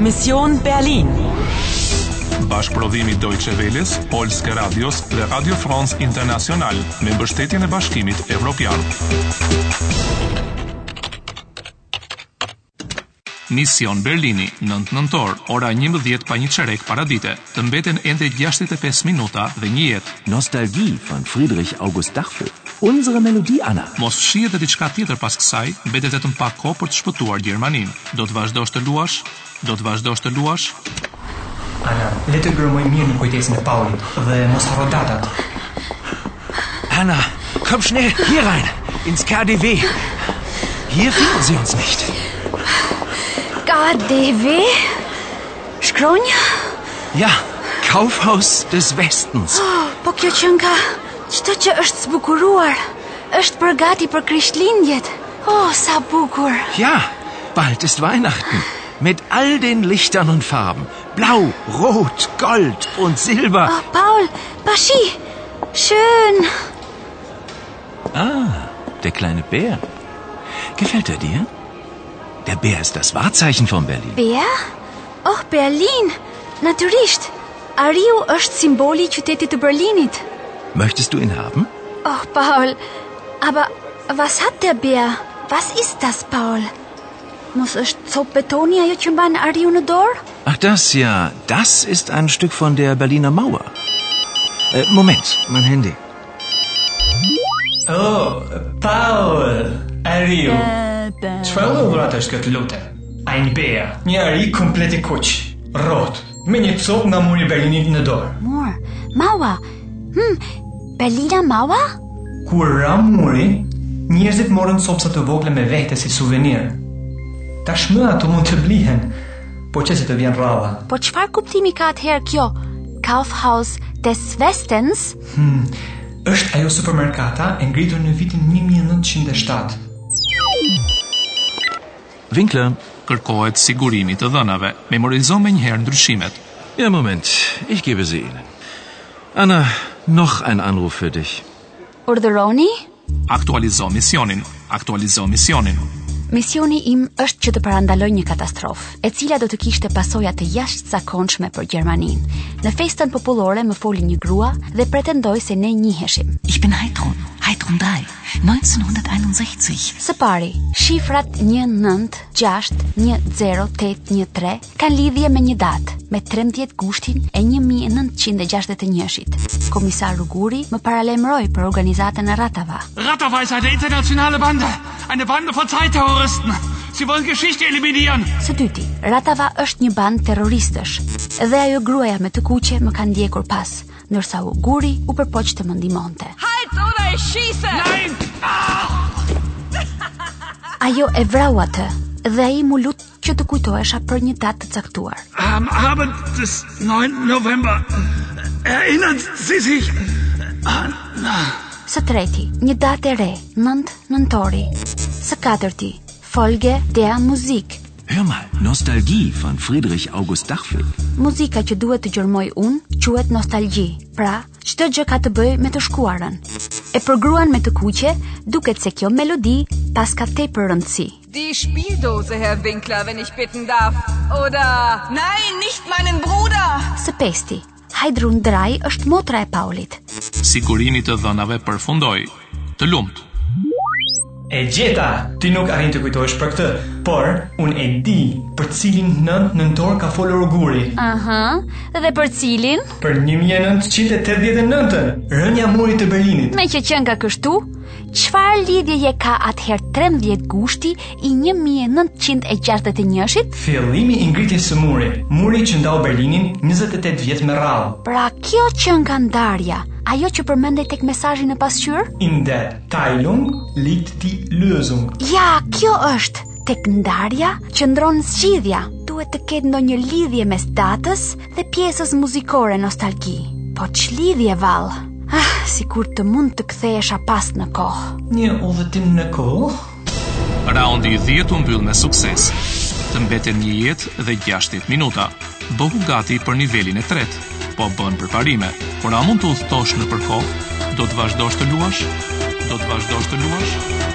Mission Berlin. Bashkëprodhimi Deutsche Welles, Polske Radios dhe Radio France International me mbështetjen e Bashkimit Evropian. Mision Berlini, 9 nëntor, ora 11 pa një çerek para dite. Të mbeten ende 65 minuta dhe një jetë. Nostalgie von Friedrich August Dachfeld. Unsere Melodie, Anna. Mos shihet edhe diçka tjetër pas kësaj, mbetet vetëm pak kohë për të shpëtuar Gjermaninë. Do të vazhdosh të luash? Do të vazhdosh të luash? Ana, le të grëmoj mirë në kujdesin e Paulit dhe mos harro datat. Anna, komm schnell hier rein, ins KDW. Hier finden Sie uns nicht. Ka Devi? Shkronja? Ja, Kaufhaus des Westens. Po kjo që nga çdo që është zbukuruar, është për gati për Krishtlindjet. Oh, sa bukur. Ja, bald ist Weihnachten. Mit all den Lichtern und Farben. Blau, Rot, Gold und Silber. Oh, Paul, pashi. Schön. Ah, der kleine Bär. Gefällt er dir? Der Bär ist das Wahrzeichen von Berlin. Bea? Oh, Berlin. Natyrisht. Ariu është simboli i qytetit të Berlinit. Möchtest du ihn haben? Oh, Paul. Aber was hat der Bär? Was ist das, Paul? Mos është copë betoni ajo që mban Ariu në dorë? Ach das ja, das ist ein Stück von der Berliner Mauer. Äh, Moment, mein Handy. Oh, Paul, Ariu. Çfarë lloj dhurate është këtë lute? Ai një beja, një ari komplet i kuq, rrot, me një copë nga muri i Berlinit në dorë. Mor, Maua. Hm, Berlina Maua? Kur ra muri, njerëzit morën copsa të vogla me vete si suvenir. Tashmë ato mund të blihen, po që se të vjen rrava. Po çfarë kuptimi ka atëherë kjo? Kaufhaus des Westens? Është ajo supermerkata e ngritur në vitin 1907. Winkler. Kërkohet sigurimi të dhënave. Memorizo me njëherë ndryshimet. Ja, Moment, ich gebe sie Ihnen. Anna, noch ein Anruf für dich. Urdhëroni? Aktualizo misionin. Aktualizo misionin. Misioni im është që të parandaloj një katastrofë, e cila do të kishte pasoja të jashtëzakonshme për Gjermaninë. Në festën popullore më foli një grua dhe pretendoi se ne njiheshim. Ich bin Heidrun, Heidrun 3, 1961. Së pari, shifrat 1961013 kanë lidhje me një datë, me 13 gushtin e 1961-shit. Komisar Ruguri më paralajmëroi për organizatën e rratave. Rattaway ist eine internationale Bande. Eine Bande von Zeitterroristen. Sie wollen Geschichte eliminieren. Së dyti, Ratava është një band terroristësh dhe ajo gruaja me të kuqe më ka ndjekur pas, ndërsa u guri u përpoq të më ndimonte. Halt oder ich schieße! Nein! Ajo e vrau atë dhe ai mu lut që të kujtohesha për një datë të caktuar. Am Abend des 9. November äh, erinnern Sie sich an... Së treti, një datë e re, 9 nëntori. Së katërti, Folge der Musik, Hör mal, Nostalgie von Friedrich August Dachfeld. Muzika që duhet të gjërmoj unë quhet nostalgji. Pra, çdo gjë ka të bëjë me të shkuarën. E për gruan me të kuqe, duket se kjo melodi pas ka tepër rëndësi. Die Spieldose, Herr Winkler, wenn ich bitten darf. Oder... Nein, nicht meinen Bruder! Së pesti, Hajdrun Draj është motra e Paulit. Sigurimi të dhënave përfundoi. Të lumt. E gjeta, ti nuk arrin të kujtohesh për këtë, por unë e di për cilin nën nëntor ka folur Guri. Aha, dhe për cilin? Për 1989-ën, rënja e murit të Berlinit. Me që qenë ka kështu, çfarë lidhjeje ka atëherë 13 gushti i 1961-shit? Fillimi i ngritjes së murit, muri që ndau Berlinin 28 vjet me radhë. Pra kjo që nga ndarja, ajo që përmendej tek mesazhi në pasqyrë? In der Teilung liegt die Lösung. Ja, kjo është tek ndarja që ndron zgjidhja. Duhet të ketë ndonjë lidhje mes datës dhe pjesës muzikore nostalgji. Po ç'lidhje vallë? Ah, sikur të mund të kthehesha pas në kohë. Një udhëtim në kohë. Raundi i 10 u mbyll me sukses. Të mbeten një jetë dhe 60 minuta. Bëhu gati për nivelin e tretë, po bën përparime. Por a mund të udhëtosh në përkohë? Do të vazhdosh të luash? Do të vazhdosh të luash?